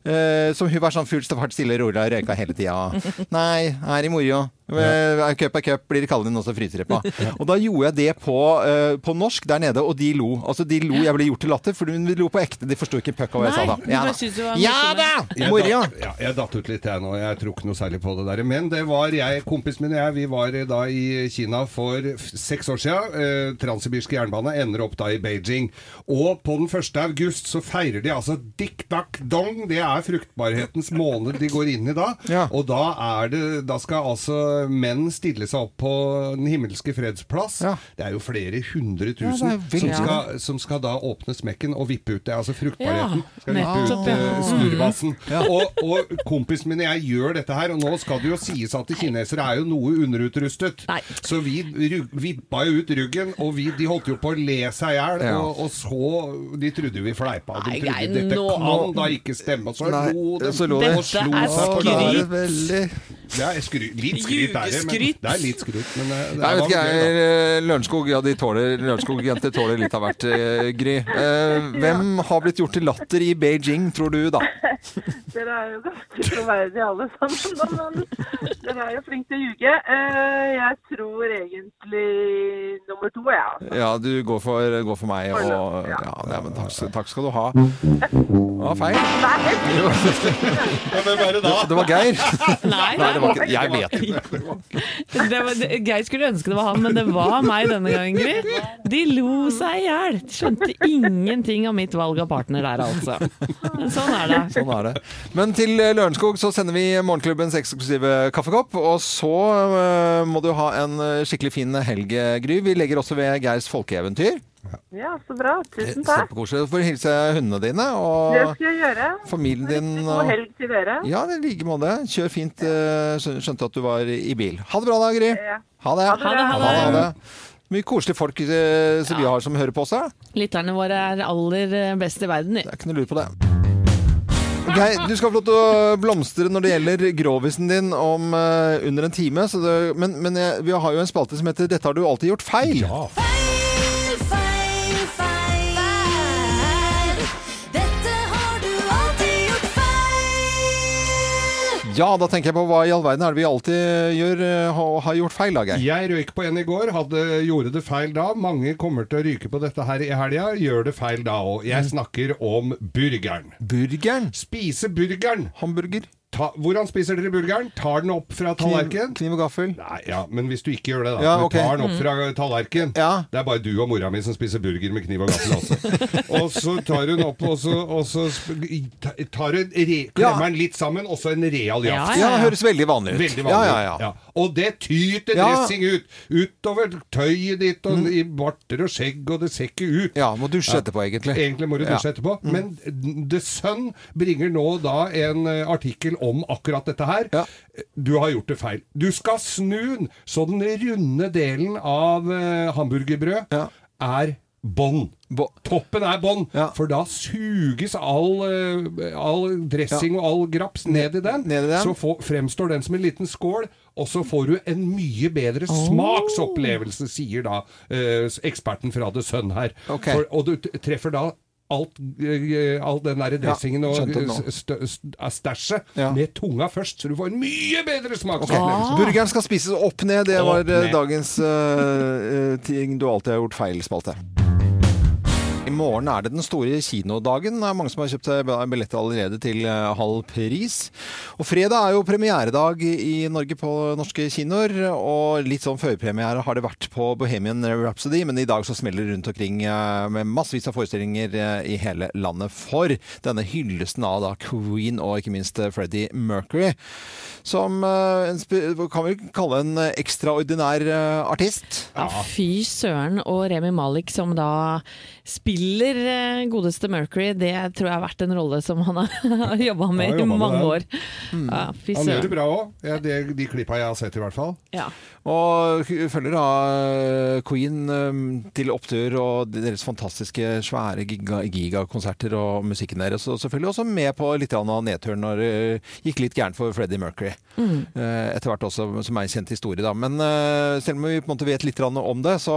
A: Eh, som hun var sånn fullt og fart stille rolig og røyka
B: <laughs>
A: hele tida. Nei, her i moro. Eh, Cup er cup, blir det kaldere enn også
B: <laughs>
A: frysereppa. Og da gjorde jeg det på, eh, på norsk der nede, og de lo. Altså, de lo, jeg ble gjort til latter, for de lo på ekte. De forsto ikke en puck av hva jeg sa
B: Nei,
A: da.
B: de bare syntes det var
A: ja
B: morsomt.
A: da!
D: Jeg
A: Moro!
D: datt- Ja, jeg datt ut litt jeg nå, jeg tror ikke noe særlig på det der. Men det var jeg, kompisen min og jeg, vi var eh, da i Kina for f- seks år siden. Eh, Transsibirske jernbane ender opp da i Beijing. Og på den 1. august så feirer de altså Dick Duck Dong, det er fruktbarhetens måned de går inn i da.
A: <laughs> Ja.
D: Og da er det, da skal altså menn stille seg opp på Den himmelske freds plass.
A: Ja.
D: Det er jo flere hundre
A: Ja, det er
D: tusen som,
A: veldig
D: skal, som skal da åpne smekken og vippe ut det. Altså fruktbarheten
B: Ja,
D: skal vippe ut
B: nettopp, ja.
A: Mm.
D: eh, snurrebassen. Og, og kompisen min og jeg gjør dette her, og nå skal det jo sies at kinesere er jo noe underutrustet.
B: Nei.
D: Så vi ru- vippa jo ut ryggen, og vi, de holdt jo på å le seg i hjel.
A: Ja.
D: Og, og så De trodde vi fleipa. De
B: Nei,
D: trodde
B: nei,
D: dette
B: nå-
D: kan da ikke stemme. Og så
A: Nei,
D: lo de.
A: så lo de.
D: og slo
B: Dette er
D: seg på
B: skryt.
A: Ja, det
D: låret.
A: er veldig-
D: Det er skry, litt skryt er det, men
B: Jugeskryt.
D: det er litt skryt. Men eh, det,
A: Nei, jeg
D: var
A: vet ikke,
D: gøy, da.
A: jeg, eh, Lørenskog, ja, de tåler, Lørenskog-jenter tåler litt av hvert, eh, Gry. Eh, hvem har blitt gjort til latter i Beijing, tror du, da?
H: Dere er jo ganske troverdige alle sammen. da, Men dere er jo flinke til å ljuge. Eh, Jeg tror egentlig nummer to, jeg. Ja.
A: Ja, du går for, går for meg og Ja, nei, men takk, takk skal du ha. Ja, feil.
D: Ja, Hvem er det da?
A: Det var
H: <laughs>
A: Geir.
B: Nei,
A: Nei, det var ikke Jeg vet ikke.
B: det var, det, Geir skulle ønske det var han, men det var meg denne gangen, Gry. De lo seg i hjel. Skjønte ingenting av mitt valg av partner der, altså. Men Sånn er det.
A: Sånn er det. Men til eh, Lørenskog så sender vi morgenklubbens eksklusive kaffekopp. Og så eh, må du ha en eh, skikkelig fin helg, eh, Gry. Vi legger også ved Geirs folkeeventyr. Eh,
H: ja, så bra.
I: Eh,
H: Tusen takk.
A: Kjempekoselig. Du får hilse hundene dine
H: Det
A: og
H: skal jeg gjøre.
A: familien din.
H: God
A: Og
H: helg til dere.
A: ja, i like måte. Kjør fint. eh, skjøn- Skjønte at du var i bil. Ha det bra da, Gry.
H: Ja.
A: Ha det.
H: Ha det, ha
B: det.
A: Ha det. Mye koselige folk eh, som vi har som hører på oss. da.
B: Lytterne våre er aller eh, best i verden.
A: Det er ikke noe lur på det. Geir, du skal få lov til å blomstre når det gjelder grovisen din om eh, under en time. Så det, men men jeg, vi har jo en spalte som heter 'Dette har du alltid gjort feil'.
J: Feil, feil, feil. Dette har du alltid gjort feil.
A: Ja, da tenker jeg på hva i all verden er det vi alltid gjør eh, og har gjort feil, da, Geir?
D: Jeg røyk på en i går, hadde, gjorde det feil da. Mange kommer til å ryke på dette her i helga, gjør det feil da òg. Jeg snakker om burgeren.
A: Burgeren.
D: Spise burgeren!
A: Hamburger.
D: Ta, hvordan spiser dere burgeren? Tar den opp fra
A: Kniv,
D: tallerken?
A: kniv og gaffel.
D: Nei, ja, men hvis du ikke gjør det, da.
A: Ja,
D: du
A: ok.
D: Tar
B: Mm.
D: den opp fra tallerken.
A: Ja.
D: Det er bare du og mora mi som spiser burger med kniv og gaffel også.
A: <laughs>
D: og så tar hun opp, og så, og så sp- tar hun, re,
A: Ja.
D: klemmer den litt sammen, og så en real
B: Ja,
D: jafs.
A: Ja, det høres veldig vanlig ut.
D: Veldig vanlig.
A: Eh, Ja, ja, ja.
D: Og det tyter
A: Ja. Mm.
D: dressing ut. Utover tøyet ditt og i barter og skjegg, og det ser ikke ut.
A: ja må dusje etterpå, egentlig.
D: Egentlig må du
A: Ja. Mm.
D: dusje etterpå. Men The Sun bringer nå da en eh, artikkel om akkurat dette her.
A: Ja.
D: Du har gjort det feil. Du skal snu den, så den runde delen av eh, hamburgerbrød
A: Ja.
D: er bånd.
A: Bo-
D: Toppen er bånn,
A: Ja.
D: for da suges all, eh, all dressing og all graps ned i den.
A: Ned i den.
D: Så få- fremstår den som en liten skål, og så får du en mye bedre smaksopplevelse, sier da eh, eksperten fra The Sun her.
A: Ok.
D: For, og du t- treffer da alt, eh, all den der dressingen
A: Ja,
D: og
A: skjønte det nå.
D: eh, st- st- stæsjet
A: Ja.
D: med tunga først, så du får en mye bedre
A: Ok.
D: smaksopplevelse.
A: Burgeren skal spises opp ned. Det var
D: Opp ned.
A: eh, dagens eh, eh, ting du alltid har gjort feil, spalte. I morgen er det den store kinodagen. Det er mange som har kjøpt seg billetter allerede til eh, halv pris. Og fredag er jo premieredag i Norge på norske kinoer. Og litt sånn førpremiere har det vært på Bohemian Rhapsody, men i dag så smeller det rundt omkring eh, med massevis av forestillinger eh, i hele landet for denne hyllesten av da Queen og ikke minst eh, Freddie Mercury. Som eh, en, spe- kan vi kalle en eh, ekstraordinær eh, artist.
B: Ja, fy søren. Og Remi Malik som da spiller eh, godeste Mercury, det tror jeg har vært en rolle som han har <laughs> jobba
D: Han har
B: med i
D: jobbet med
B: mange
D: den.
B: år. Ja, fy
D: Han gjør det
B: søren.
D: bra òg. Ja, det- de klippa jeg har sett, i hvert fall.
B: Ja.
A: Og følger da Queen eh, til opptur og deres fantastiske svære giga- gigakonserter og musikken deres. Og selvfølgelig også med på litt grann av nedturen når det eh, gikk litt gærent for Freddie Mercury. Eh, Etter hvert også, som er en kjent historie, da. Men eh, selv om vi på en måte vet litt grann om det, så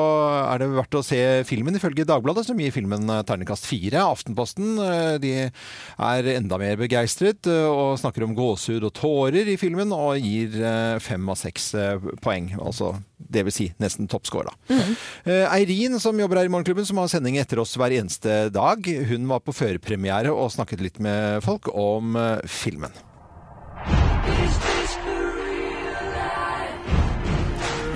A: er det verdt å se filmen ifølge Dagbladet, som gir filmen eh, terningkast fire. Aftenposten eh, de er enda mer begeistret eh, og snakker om gåsehud og tårer i filmen, og gir eh, fem av seks eh, poeng. Altså det vil si nesten toppscore, da. Eh, Eirin, som jobber her i Morgenklubben, som har sending etter oss hver eneste dag, hun var på førpremiere og snakket litt med folk om eh, filmen.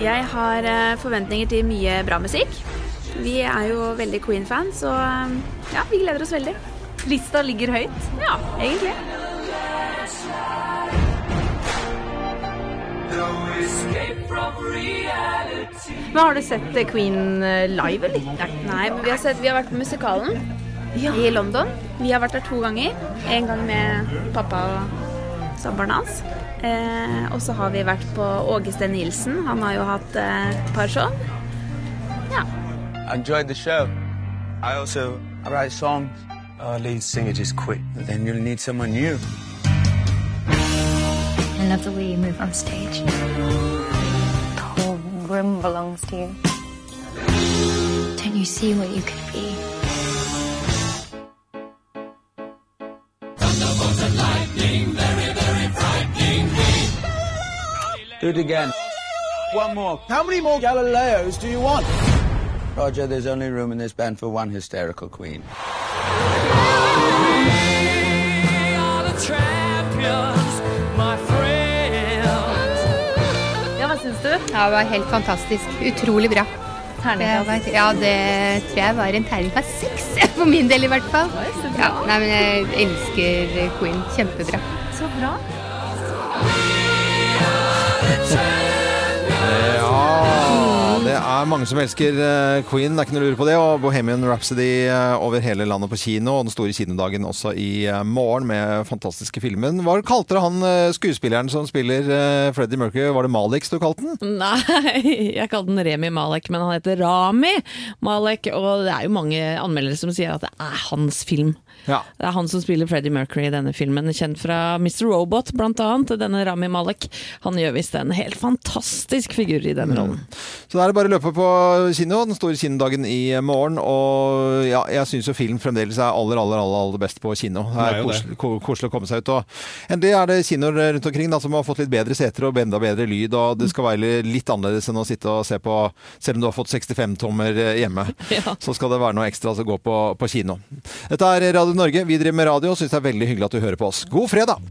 K: Jeg har eh, forventninger til mye bra musikk. Vi er jo veldig Queen-fans, og eh, ja, vi gleder oss veldig. Lista ligger høyt? Ja, egentlig. Men Har du sett eh, Queen live, eller? Nei, men vi har, sett, vi har vært på musikalen i London. Vi har vært der to ganger. En gang med pappa og samboeren hans. Eh, og så har vi vært på Åge Steen Nilsen. Han har jo hatt eh, et par show. Ja.
L: enjoyed the show. I also I write songs. Our lead singer just quit. Then you'll need someone new.
J: I love the way you move on stage. The whole room belongs to you. Don't you see what you could be?
L: Do it again. One more. How many more Galileos do you want? Roger, there's only room in this band for one hysterical queen.
K: ja, hva syns du?
J: Ja, det var helt fantastisk. Utrolig bra. Terningkast? Ja, det tror jeg var en terningkast seks. <laughs> For min del, i hvert fall. Ja, nei, men jeg elsker Queen. Kjempebra.
K: Så bra.
A: Ja, det er mange som elsker eh, Queen, det er ikke noe å lure på det. Og Bohemian Rhapsody eh, over hele landet på kino, og den store kinodagen også i eh, morgen med fantastiske filmen. Hva kalte dere han eh, skuespilleren som spiller eh, Freddie Mercury? Var det Malix du kalte den?
B: Nei, jeg kalte den Remi Malek, men han heter Rami Malek. Og det er jo mange anmeldere som sier at det er hans film.
A: Ja.
B: Det er han som spiller Freddie Mercury i denne filmen, kjent fra Mr. Robot blant annet. Denne Rami Malek. Han gjør visst en helt fantastisk figur i den rollen.
A: Så da er det bare å løpe på kino, den store kinodagen i morgen. Og ja, jeg syns jo film fremdeles er aller, aller, aller, aller best på kino. Det
D: Det
A: er
D: er jo det.
A: koselig, ko- koselig å komme seg ut. Og endelig er det kinoer rundt omkring da, som har fått litt bedre seter og enda bedre lyd, og det skal være litt annerledes enn å sitte og se på Selv om du har fått 65-tommer hjemme,
B: Ja.
A: så skal det være noe ekstra som går på, på kino. Dette er Radio Norge. Vi driver med radio og syns det er veldig hyggelig at du hører på oss. God fredag!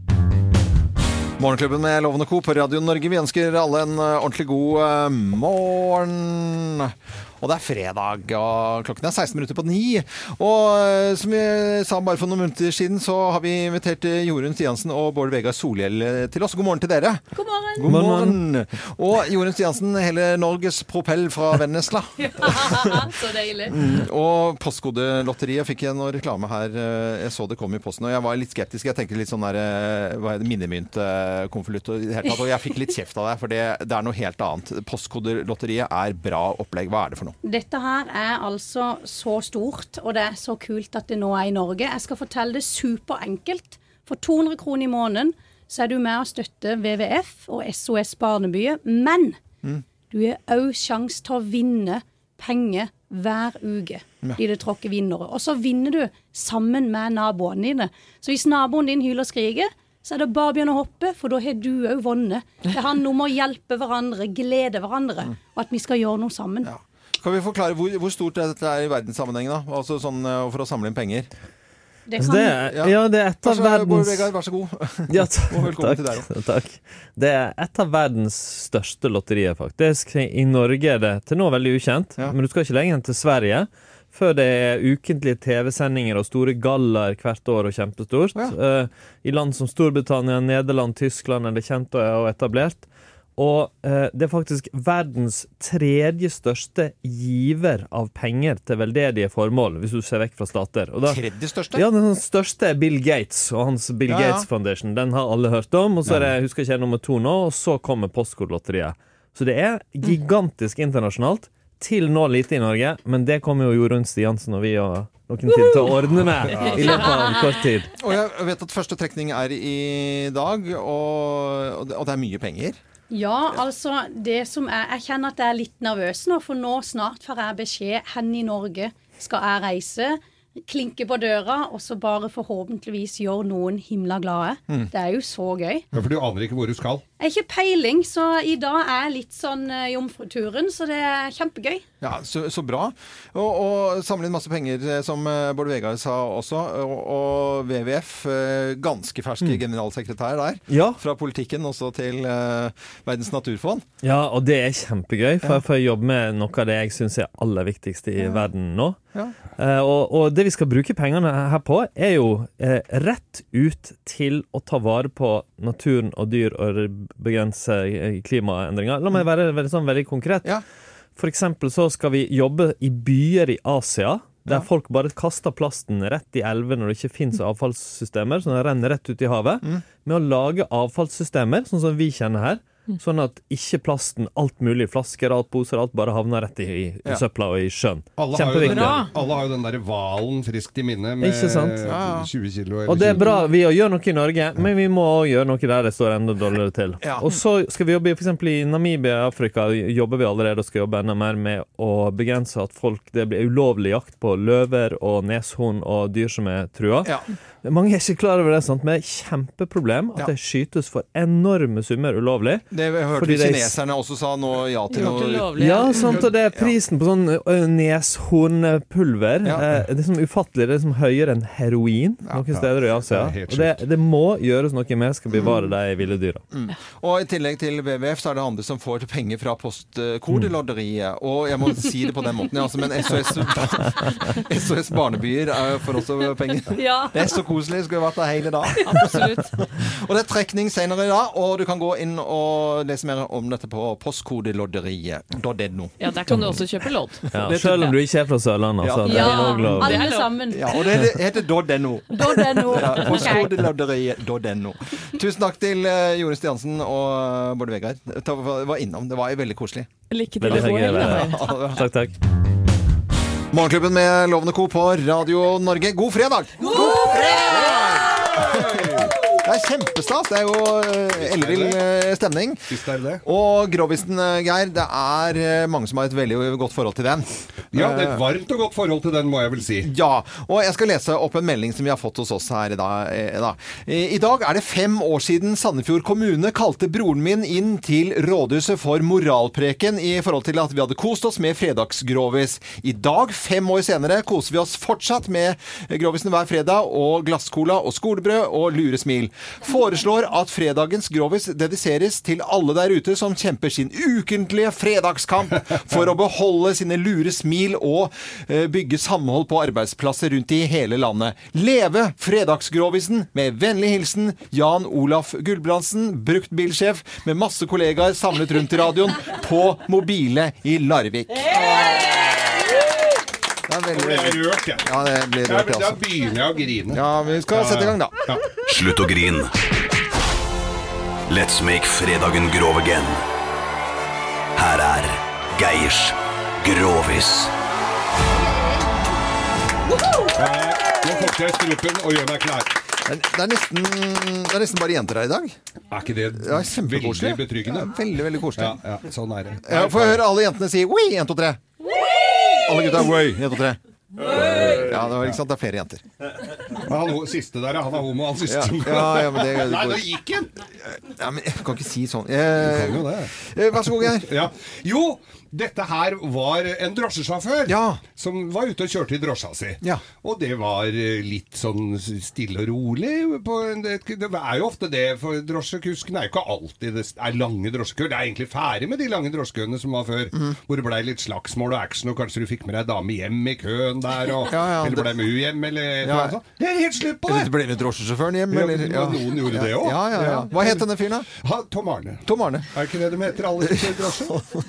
A: Morgenklubben med Lovende Co. på Radio Norge. Vi ønsker alle en eh, ordentlig god eh, morgen. Og det er fredag, og klokken er 16 minutter på ni. Og eh, som jeg sa bare for noen minutter siden, så har vi invitert eh, Jorunn Stiansen og Bård Vegar Solhjell eh, til oss. God morgen til dere. God morgen. God morgen. Og Jorunn Stiansen, hele Norges propell fra Vennesla.
B: Så deilig.
A: Og Postkodelotteriet fikk jeg noe reklame her. eh, Jeg så det kom i posten, og jeg var litt skeptisk. Jeg tenkte litt sånn der eh, hva er det, minnemyntkonvolutt og i det hele tatt. Og jeg fikk litt kjeft av deg, for det, det er noe helt annet. Postkodelotteriet er bra opplegg. Hva er det for noe?
K: Dette her er altså så stort, og det er så kult at det nå er i Norge. Jeg skal fortelle det superenkelt. For 200 kroner i måneden så er du med og støtter WWF og SOS Barnebyer. Men du har òg sjanse til å vinne penger hver uke. De det tråkker vinnere. Og så vinner du sammen med naboene dine. Så hvis naboen din hyler og skriker, så er det bare å begynne å hoppe, for da har du òg vunnet. Det handler om å hjelpe hverandre, glede hverandre, og at vi skal gjøre noe sammen.
A: Kan vi forklare hvor, hvor stort dette er i verdenssammenheng, da? Altså sånn eh, for å samle inn penger.
K: Det
I: Altså, det er, ja, det er et
A: Vær
I: av
A: så-
I: verdens
A: Bård Vegar, vær så god.
I: <laughs> Ja, ta-
A: Og velkommen til deg
I: takk, <laughs> takk. Det er et av verdens største lotterier, faktisk. I Norge er det til nå veldig ukjent, men du skal ikke lenger enn til Sverige. Før det er ukentlige TV-sendinger og store gallaer hvert år og kjempestort. Eh, I land som Storbritannia, Nederland, Tyskland er det kjent og etablert. Og eh, det er faktisk verdens tredje største giver av penger til veldedige formål, hvis du ser vekk fra stater. Og da-
A: Tredje største?
I: Ja, den største er Bill Gates og hans Bill
A: Ja, ja.
I: Gates Foundation. Den har alle hørt om. Og så er det, jeg husker ikke jeg nummer to nå, og så kommer Postkodelotteriet. Så det er gigantisk internasjonalt. Til nå lite i Norge, men det kommer jo Jorunn Stiansen og vi og noen til til å ordne med i løpet av kort tid.
A: Og jeg vet at første trekning er i dag, og, og det- og det er mye penger.
K: Ja, altså det som er, Jeg kjenner at jeg er litt nervøs nå, for nå snart får jeg beskjed hen i Norge skal jeg reise. Klinke på døra, og så bare forhåpentligvis gjøre noen himla glade.
D: Mm.
K: Det er jo så gøy.
D: Ja, for du aner ikke hvor du skal.
K: Jeg har ikke peiling, så i dag er jeg litt sånn eh, jomfruturen, så det er kjempegøy.
A: Ja, Så, så bra. Og, og samle inn masse penger, eh, som eh, Bård Vegar sa også. Og, og WWF, eh, ganske fersk
I: Mm.
A: generalsekretær der, fra politikken også til eh, Verdens naturfond.
I: Ja, og det er kjempegøy, for jeg får jobbe med noe av det jeg syns er aller viktigste i verden nå.
A: Ja.
I: Eh, og, og det vi skal bruke pengene her på, er jo eh, rett ut til å ta vare på naturen og dyr og begrense eh, klimaendringer. La meg være veldig, sånn, veldig konkret. For eksempel så skal vi jobbe i byer i Asia. Der folk bare kaster plasten rett i elver når det ikke fins avfallssystemer. Så den renner rett ut i havet. Med å lage avfallssystemer, sånn som vi kjenner her. Sånn at ikke plasten, alt mulig, flasker, alt poser, alt bare havner rett i, i
D: Ja.
I: søpla og i sjøen.
D: Alle har, jo den,
I: Kjempeviktig.
D: alle har jo den der hvalen friskt i minne med
I: Ikke sant?
D: 20 kilo. eller
I: Og det er
D: 20.
I: bra vi gjør noe i Norge, men vi må også gjøre noe der det står enda dårligere til.
A: Ja.
I: Og så skal vi jobbe i- for eksempel i Namibia i Afrika jobber vi allerede og skal jobbe enda mer med å begrense at folk, det blir ulovlig jakt på løver og neshorn og dyr som er trua. Mange er ikke klar over det, sant? men det er et kjempeproblem at
A: Ja.
I: det skytes for enorme summer ulovlig.
A: Det hørte
I: Fordi
A: vi
I: det er-
A: kineserne også sa nå ja til noe
I: Ja, sant, og det er prisen på sånn ø, neshornpulver. eh, Det er sånn ufattelig. Det er sånn høyere enn heroin noen steder i Asia.
A: Det er helt
I: Og det, det må gjøres noe med skal bevare de ville dyra.
A: Mm. Og i tillegg til WWF så er det andre som får penger fra
I: Mm.
A: postkodelotteriet. Og jeg må si det på den måten, ja, altså, men <laughs> SOS, SOS Barnebyer eh, får også penger.
B: Ja.
A: Det er så koselig. Skulle vært der hele dag.
B: Absolutt.
A: og det er trekning senere i dag, og du kan gå inn og lese mer om dette på postkodelotteriet.no.
B: Ja, der kan du også kjøpe lodd.
I: Ja, selv om du ikke er fra Sørlandet,
A: Ja.
I: altså. Det
B: Ja,
I: er også lov.
B: alle
K: sammen.
A: Ja, og det heter .no.
K: .no.
A: Ja,
K: Ok.
A: postkodelotteriet.no. Tusen takk til eh, Jorunn Stiansen og eh, Bård Vegar. Ta- Var innom. Det var veldig koselig.
B: Lykke
I: Veldig hyggelig.
A: Ja.
I: Takk, takk.
A: <laughs> Morgenklubben med Lovende Co. på Radio Norge. God fredag! God fredag! Det er kjempestas. Det er jo eh, ellevill eh, stemning. Og Grovisen, eh, Geir, det er eh, mange som har et veldig godt forhold til den.
D: Ja, det er et
A: Eh,
D: varmt og godt forhold til den, må jeg vel si.
A: <laughs> Ja, og jeg skal lese opp en melding som vi har fått hos oss her i dag. eh, da. I dag er det fem år siden Sandefjord kommune kalte broren min inn til rådhuset for moralpreken i forhold til at vi hadde kost oss med fredagsgrovis. I dag, fem år senere, koser vi oss fortsatt med grovisen hver fredag og glasscola og skolebrød og lure smil. Foreslår at fredagens grovis dediseres til alle der ute som kjemper sin ukentlige fredagskamp for å beholde sine lure smil og eh, bygge samhold på arbeidsplasser rundt i hele landet. Leve fredagsgrovisen! Med vennlig hilsen Jan Olaf Gulbrandsen, bruktbilsjef med masse kollegaer samlet rundt i radioen på mobile i Larvik. Det er veldig,
D: Jeg er rørt, jeg.
A: Ja, det blir
D: Ja,
A: rørt,
D: men
A: altså.
D: Da begynner jeg å grine.
A: Ja, vi skal
D: Ja,
A: sette i
D: ja.
A: gang, da.
G: Slutt å grin. Let's make fredagen grov again. Her er Geirs Grovis.
D: Eh, Nå fukter jeg strupen og gjør meg klar.
A: Men Det er nesten, det er nesten bare jenter her i dag.
D: Er ikke det,
A: Det er kjempekoselig.
D: veldig betryggende?
A: Ja, veldig, veldig koselig.
D: Ja, ja, sånn er det.
A: Ja, Får jeg høre alle jentene si 'wee', 1, 2, 3. Alle gutta 'wee', 1, 2, 3. Ja, det, var, ikke sant? det er flere jenter.
D: Han ho- siste der, ja. han er homo, han siste.
A: Ja, ja, ja, men det-
D: <laughs> Nei, nå gikk han!
A: Ja, men jeg kan ikke si sånn. eh,
D: Du kan jo det.
A: Vær så
D: <laughs>
A: god, Geir.
D: Ja. Jo, dette her var en drosjesjåfør som var ute og kjørte i drosja si. Og det var eh, litt sånn stille og rolig. På en, det det er jo ofte det, for drosjekusken er jo ikke alltid det er lange drosjekøer. Det er egentlig ferdig med de lange drosjekøene som var før,
A: Mm.
D: hvor det blei litt slagsmål og action, og kanskje du fikk med deg ei dame hjem i køen der, og,
A: <laughs> Ja, ja,
D: eller
A: det-
D: blei mu hjem, eller et eller
A: Ja.
D: annet sånt. Det er helt slutt på det!
A: Eller Ble med drosjesjåføren hjem,
D: Ja,
A: eller?
D: men Noen gjorde det òg.
A: Ja, ja, ja. Hva het denne fyren, da?
D: Tom Arne.
A: Tom Arne.
D: Er ikke det de heter, alle som kjører drosje?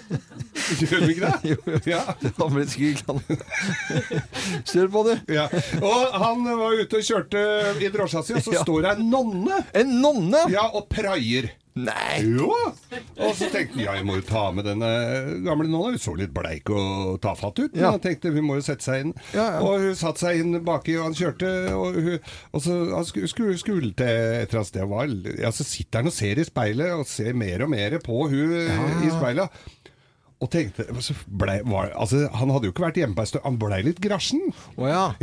D: Gjør vi ikke det? Ja.
A: <laughs> Han <laughs> ble skrik, han. Kjør på, du.
D: Ja. Og han var ute og kjørte i drosja si, og så
A: Ja.
D: står det ei nonne.
A: En nonne?
D: Ja, og praier.
A: Nei!
D: Jo! Og så tenkte han ja, jeg må jo ta med denne gamle nonna. Hun så litt bleik og tafatt ut, men
A: Ja.
D: han tenkte hun må jo sette seg inn.
A: Ja, ja.
D: Og hun satte seg inn baki, og han kjørte, og, hun, og så han skulle, skulle, skulle til et eller annet sted. og var- Ja, så sitter han og ser i speilet, og ser mer og mer på hun i speilet. Og tenkte så ble, var, altså, Han hadde jo ikke vært hjemme på en stund. Han blei litt grasjen. Ja,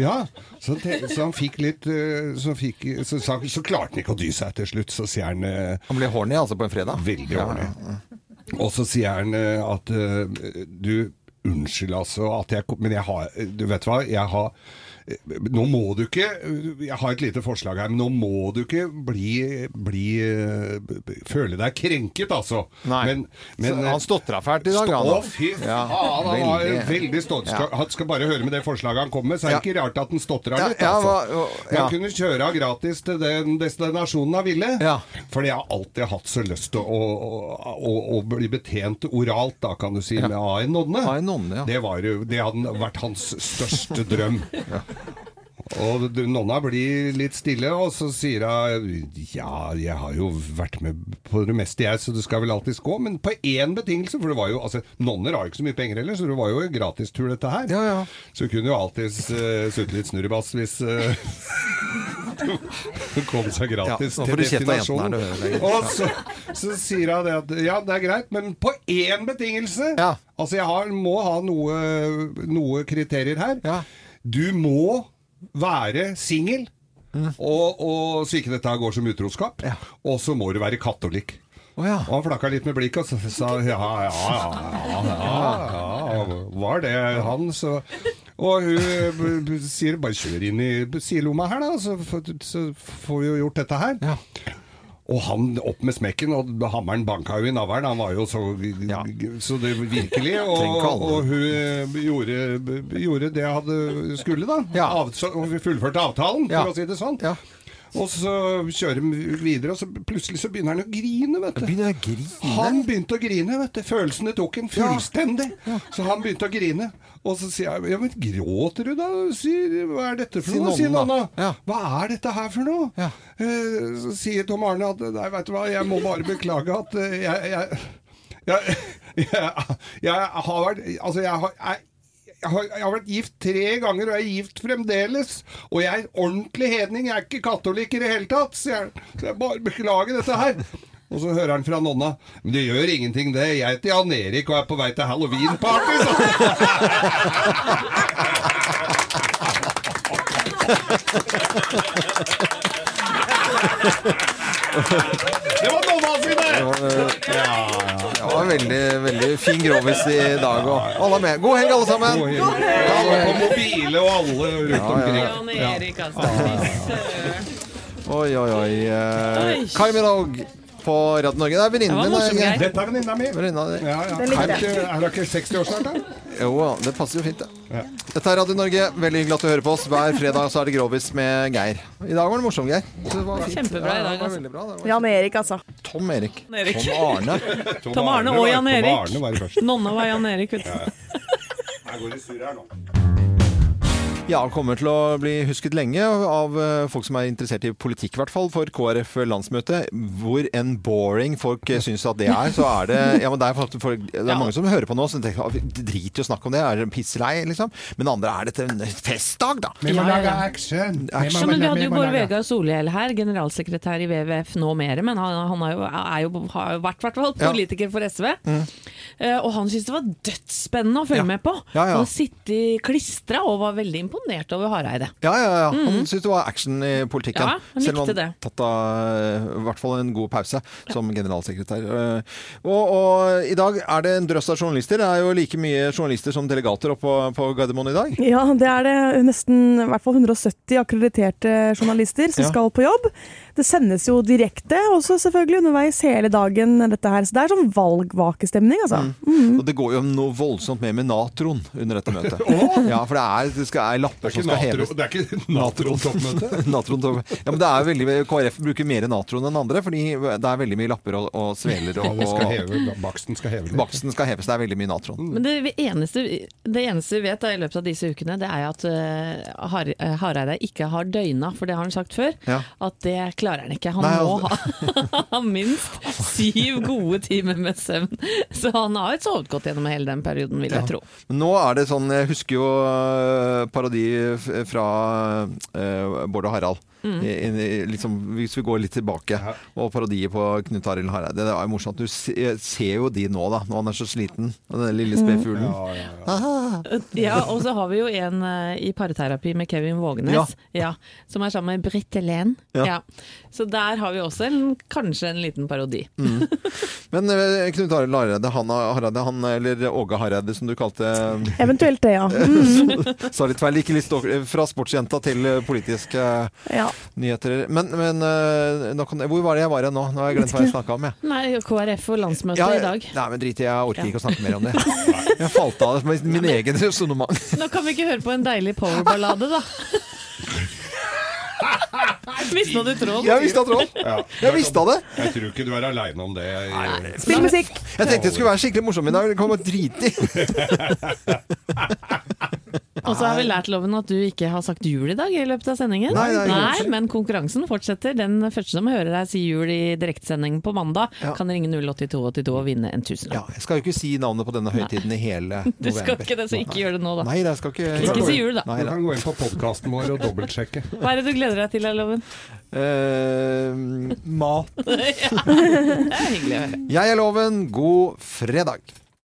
D: så, han tenkte, så han fikk litt øh, så, fikk, så, så, så klarte han ikke å dy seg til slutt. Så sier han eh,
A: Han ble horny altså på en fredag?
D: Veldig horny. Og så sier han eh, at eh, du, unnskyld altså, at jeg, kom- men jeg har, du vet hva, jeg har eh, nå må du ikke Jeg har et lite forslag her, men nå må du ikke bli, bli eh, b- b- Føle deg krenket, altså.
A: Nei.
D: Men, eh,
A: Så han stotra fælt i dag, han,
D: Stå,
A: da.
D: fy faen!
A: Ja,
D: han var
A: veldig.
D: veldig stolt.
A: Ja.
D: Han skal bare høre med det forslaget han kommer med, så er det ikke rart at han stotrer
A: Ja,
D: litt.
A: ja,
D: Altså.
A: hva- hva-
D: Men
A: ja.
D: han kunne kjøre av gratis til den destinasjonen han ville. For jeg har alltid hatt så lyst til å, å, å, å bli betjent oralt, da kan du si, med av en nonne. det, var, jo- det hadde vært hans største
A: <laughs>
D: drøm. Og du- nonna blir litt stille, og så sier hun Ja, jeg har jo vært med på det meste, jeg, så du skal vel alltids gå. Men på én betingelse, for det var jo altså, Nonner har jo ikke så mye penger heller, så det var jo en gratistur, dette her. Så hun kunne jo alltids uh, sutte litt snurrebass hvis eh, <laughs> Hun kom seg gratis
A: Ja, nå får
D: til
A: du kjeft av jentene her,
D: destinasjonen.
A: du ødelegger.
D: Og så, så sier hun det at Ja, det er greit, men på én betingelse! Altså, jeg har, må ha noe, noe kriterier her. Du må være singel, og, og så ikke dette går som utroskap. Og så må du være katolikk. Og han flakka litt med blikket og så sa ja, ja, ja, ja, ja, ja Var det han, så Og hun b- b- sier bare kjør inn i sidelomma her, da, så, f- så får vi jo gjort dette her. Og han opp med smekken, og hammeren banka jo i navlen. Han var jo så, så det
A: <laughs>
D: virkelig.
A: Tenk
D: Og,
A: alle.
D: og hun eh, gjorde, b- gjorde det jeg hadde skulle, da. Av, så, og vi fullførte avtalen,
A: Ja.
D: for å si det sånn. Og så kjører de videre, og så plutselig så begynner han å grine, vet du.
A: Begynner å grine?
D: Han begynte å grine, vet du. Følelsene tok en fullstendig. Så han begynte å grine. Og så sier jeg, ja, men gråter du da? Sier, hva er dette for
A: Sier
D: noe? Sier
A: nonnen, da.
D: nonna. Hva er dette her for noe? Eh, så sier Tom Arne at, nei, vet du hva, jeg må bare beklage at eh, jeg, jeg jeg, jeg, <laughs> jeg har vært Altså, jeg har jeg, jeg har, jeg har vært gift tre ganger, og jeg er gift fremdeles. Og jeg er ordentlig hedning, jeg er ikke katolikk i det hele tatt. Så jeg, så jeg bare beklager dette her. Og så hører han fra nonna Men det gjør ingenting, det. Jeg heter Jan Erik og er på vei til halloween-party, sa han. Det var nonna
A: Det
D: sine!
A: var, eh, det var veldig, veldig fin grovis i dag. Og alle er med. God helg, alle sammen!
D: Og mobile og alle rundt omkring.
B: Jan Erik, altså.
A: Oi, oi, oi. eh,
B: Oi.
A: Kai Minogue på Radio Norge. Det er venninnen din. det er-
D: Dette er venninna mi.
A: Venninna di.
D: Ja, ja.
A: Den liker
D: Er det
A: jeg.
D: ikke- er det ikke 60 år
B: <laughs>
D: snart, da?
A: Jo da, det passer jo fint, det. Dette er Radio Norge. Veldig hyggelig at du hører på oss. Hver fredag så er det grovis med Geir. I dag var det morsom, Geir. Det var fint.
B: Kjempebra i
A: Ja, det
B: dag,
A: var
B: altså.
A: veldig bra. Det var
E: Jan Erik, altså.
A: Tom Erik.
B: Tom Erik.
A: Tom Arne.
B: Tom Arne og Jan Erik.
D: Arne var i første.
B: Nonna var Jan Erik, vet du.
D: Jeg går i surr her nå.
A: Ja, kommer til å bli husket lenge av eh, folk som er interessert i politikk, i hvert fall, for KrF-landsmøtet. Hvor enn boring folk eh, syns at det er, så er det Ja, men det er, faktisk folk, det er mange som hører på nå som tenker at drit i å snakke om det, er det pisslei, liksom. Men andre er dette en festdag, da.
D: Vi må lage action!
B: Ja, men vi hadde jo Bård Vegar Solhjell her, generalsekretær i WWF nå mer, men han, han er jo, er jo, har jo vært hvertfall
A: Ja.
B: politiker for SV.
A: Mm.
B: Eh, Og han syntes det var dødsspennende å følge med på.
A: Ja, ja.
B: Han sittet klistra og var veldig imponert over Hareide.
A: Ja, ja, ja. Han
B: Mm.
A: syntes det var action i politikken.
B: Ja, han
A: selv om
B: likte
A: han tatt av eh, i hvert fall en god pause som generalsekretær. Eh, Og, og i dag er det en drøss av journalister. Det er jo like mye journalister som delegater oppe på, på Gardermoen i dag.
E: Ja, det er det nesten i hvert fall 170 akkrediterte journalister som
A: Ja.
E: skal på jobb. Det sendes jo direkte, og så selvfølgelig underveis hele dagen dette her. Så det er sånn valgvakestemning, altså.
A: Og det går jo noe voldsomt mer med natron under dette
D: <laughs>
A: møtet. Ja, for det er, det skal, er lapper
D: Det er
A: som skal
D: ikke natro-
A: heves.
D: det er ikke <laughs>
A: <laughs>
D: natron-toppmøte?
A: Natron-toppmøte. ja, men det er veldig, KrF bruker mer natron enn andre, fordi det er veldig mye lapper og, og sveler.
D: <laughs>
A: Og,
D: Alle skal
A: og-
D: heve, baksten skal heve litt.
A: Baksten skal heves, det er veldig mye natron.
B: Men det vi- eneste, det eneste vi vet da, i løpet av disse ukene, det er at eh, Har- eh, Hareide ikke har døgna, for det har han sagt før.
A: Ja.
B: At det klarer han ikke. Han
A: Nei, altså.
B: må ha, <laughs> ha minst syv gode timer med søvn. Så han har jo sovet godt gjennom hele den perioden, vil jeg
A: Ja.
B: tro.
A: Men nå er det sånn, jeg husker jo øh, parodi f- fra øh, Bård og Harald.
B: Mm.
A: I- i- liksom, hvis vi går litt tilbake, og parodier på Knut Arild Hareide. Det var jo morsomt. Du se- ser jo de nå, da, når han er så sliten. Og den lille spedfuglen.
B: Ja, og så har vi jo en eh, i parterapi med Kevin Vågenes, ja. som er sammen med Britt Helen.
A: Ja.
B: Ja. Så der har vi også en, kanskje en liten parodi.
A: Mm. Men øh, Knut Arild Hareide, han, har- Hareide, han eller Åge Hareide som du kalte eh,
E: Eventuelt det, ja. Mm.
A: Sa litt feil. Ikke litt stoff, fra sportsjenta til øh, politiske
E: Ja.
A: nyheter. Men, men øh, nå kan, hvor var det jeg var hen nå? Nå har jeg glemt hva jeg snakka om, jeg.
B: Nei, KrF og landsmøtet
A: Ja,
B: i dag.
A: Nei, men drit i, jeg orker
B: Ja.
A: ikke å snakke mer om det. Jeg falt av det med min egen resonnement.
B: <laughs> Nå kan vi ikke høre på en deilig powerballade,
A: <laughs>
B: da. Mista du tråden?
A: Jeg mista tråden. Jeg visste det!
D: Jeg tror ikke du er aleine om det.
A: Spill musikk. Jeg tenkte det skulle være skikkelig morsom i dag, men det kom og drit i.
B: Og så har vi lært loven at du ikke har sagt jul i dag i løpet av sendingen.
A: Nei, nei,
B: Nei
A: unnskyld.
B: men konkurransen fortsetter. Den første som hører deg si jul i direktesending på mandag, kan ringe 08282 og vinne en tusenlapp.
A: Jeg skal jo ikke si navnet på denne høytiden i hele november.
B: Du skal ikke det, så ikke gjør det nå, da.
A: Nei, jeg skal ikke
B: Ikke si jul, da.
A: Nei,
D: Du kan gå inn på podkasten vår og dobbeltsjekke.
B: Hva er det du gleder deg til, da, <laughs> Loven?
A: Eh, mat.
B: ja. Det er hyggelig å høre.
A: Jeg er Loven. God fredag.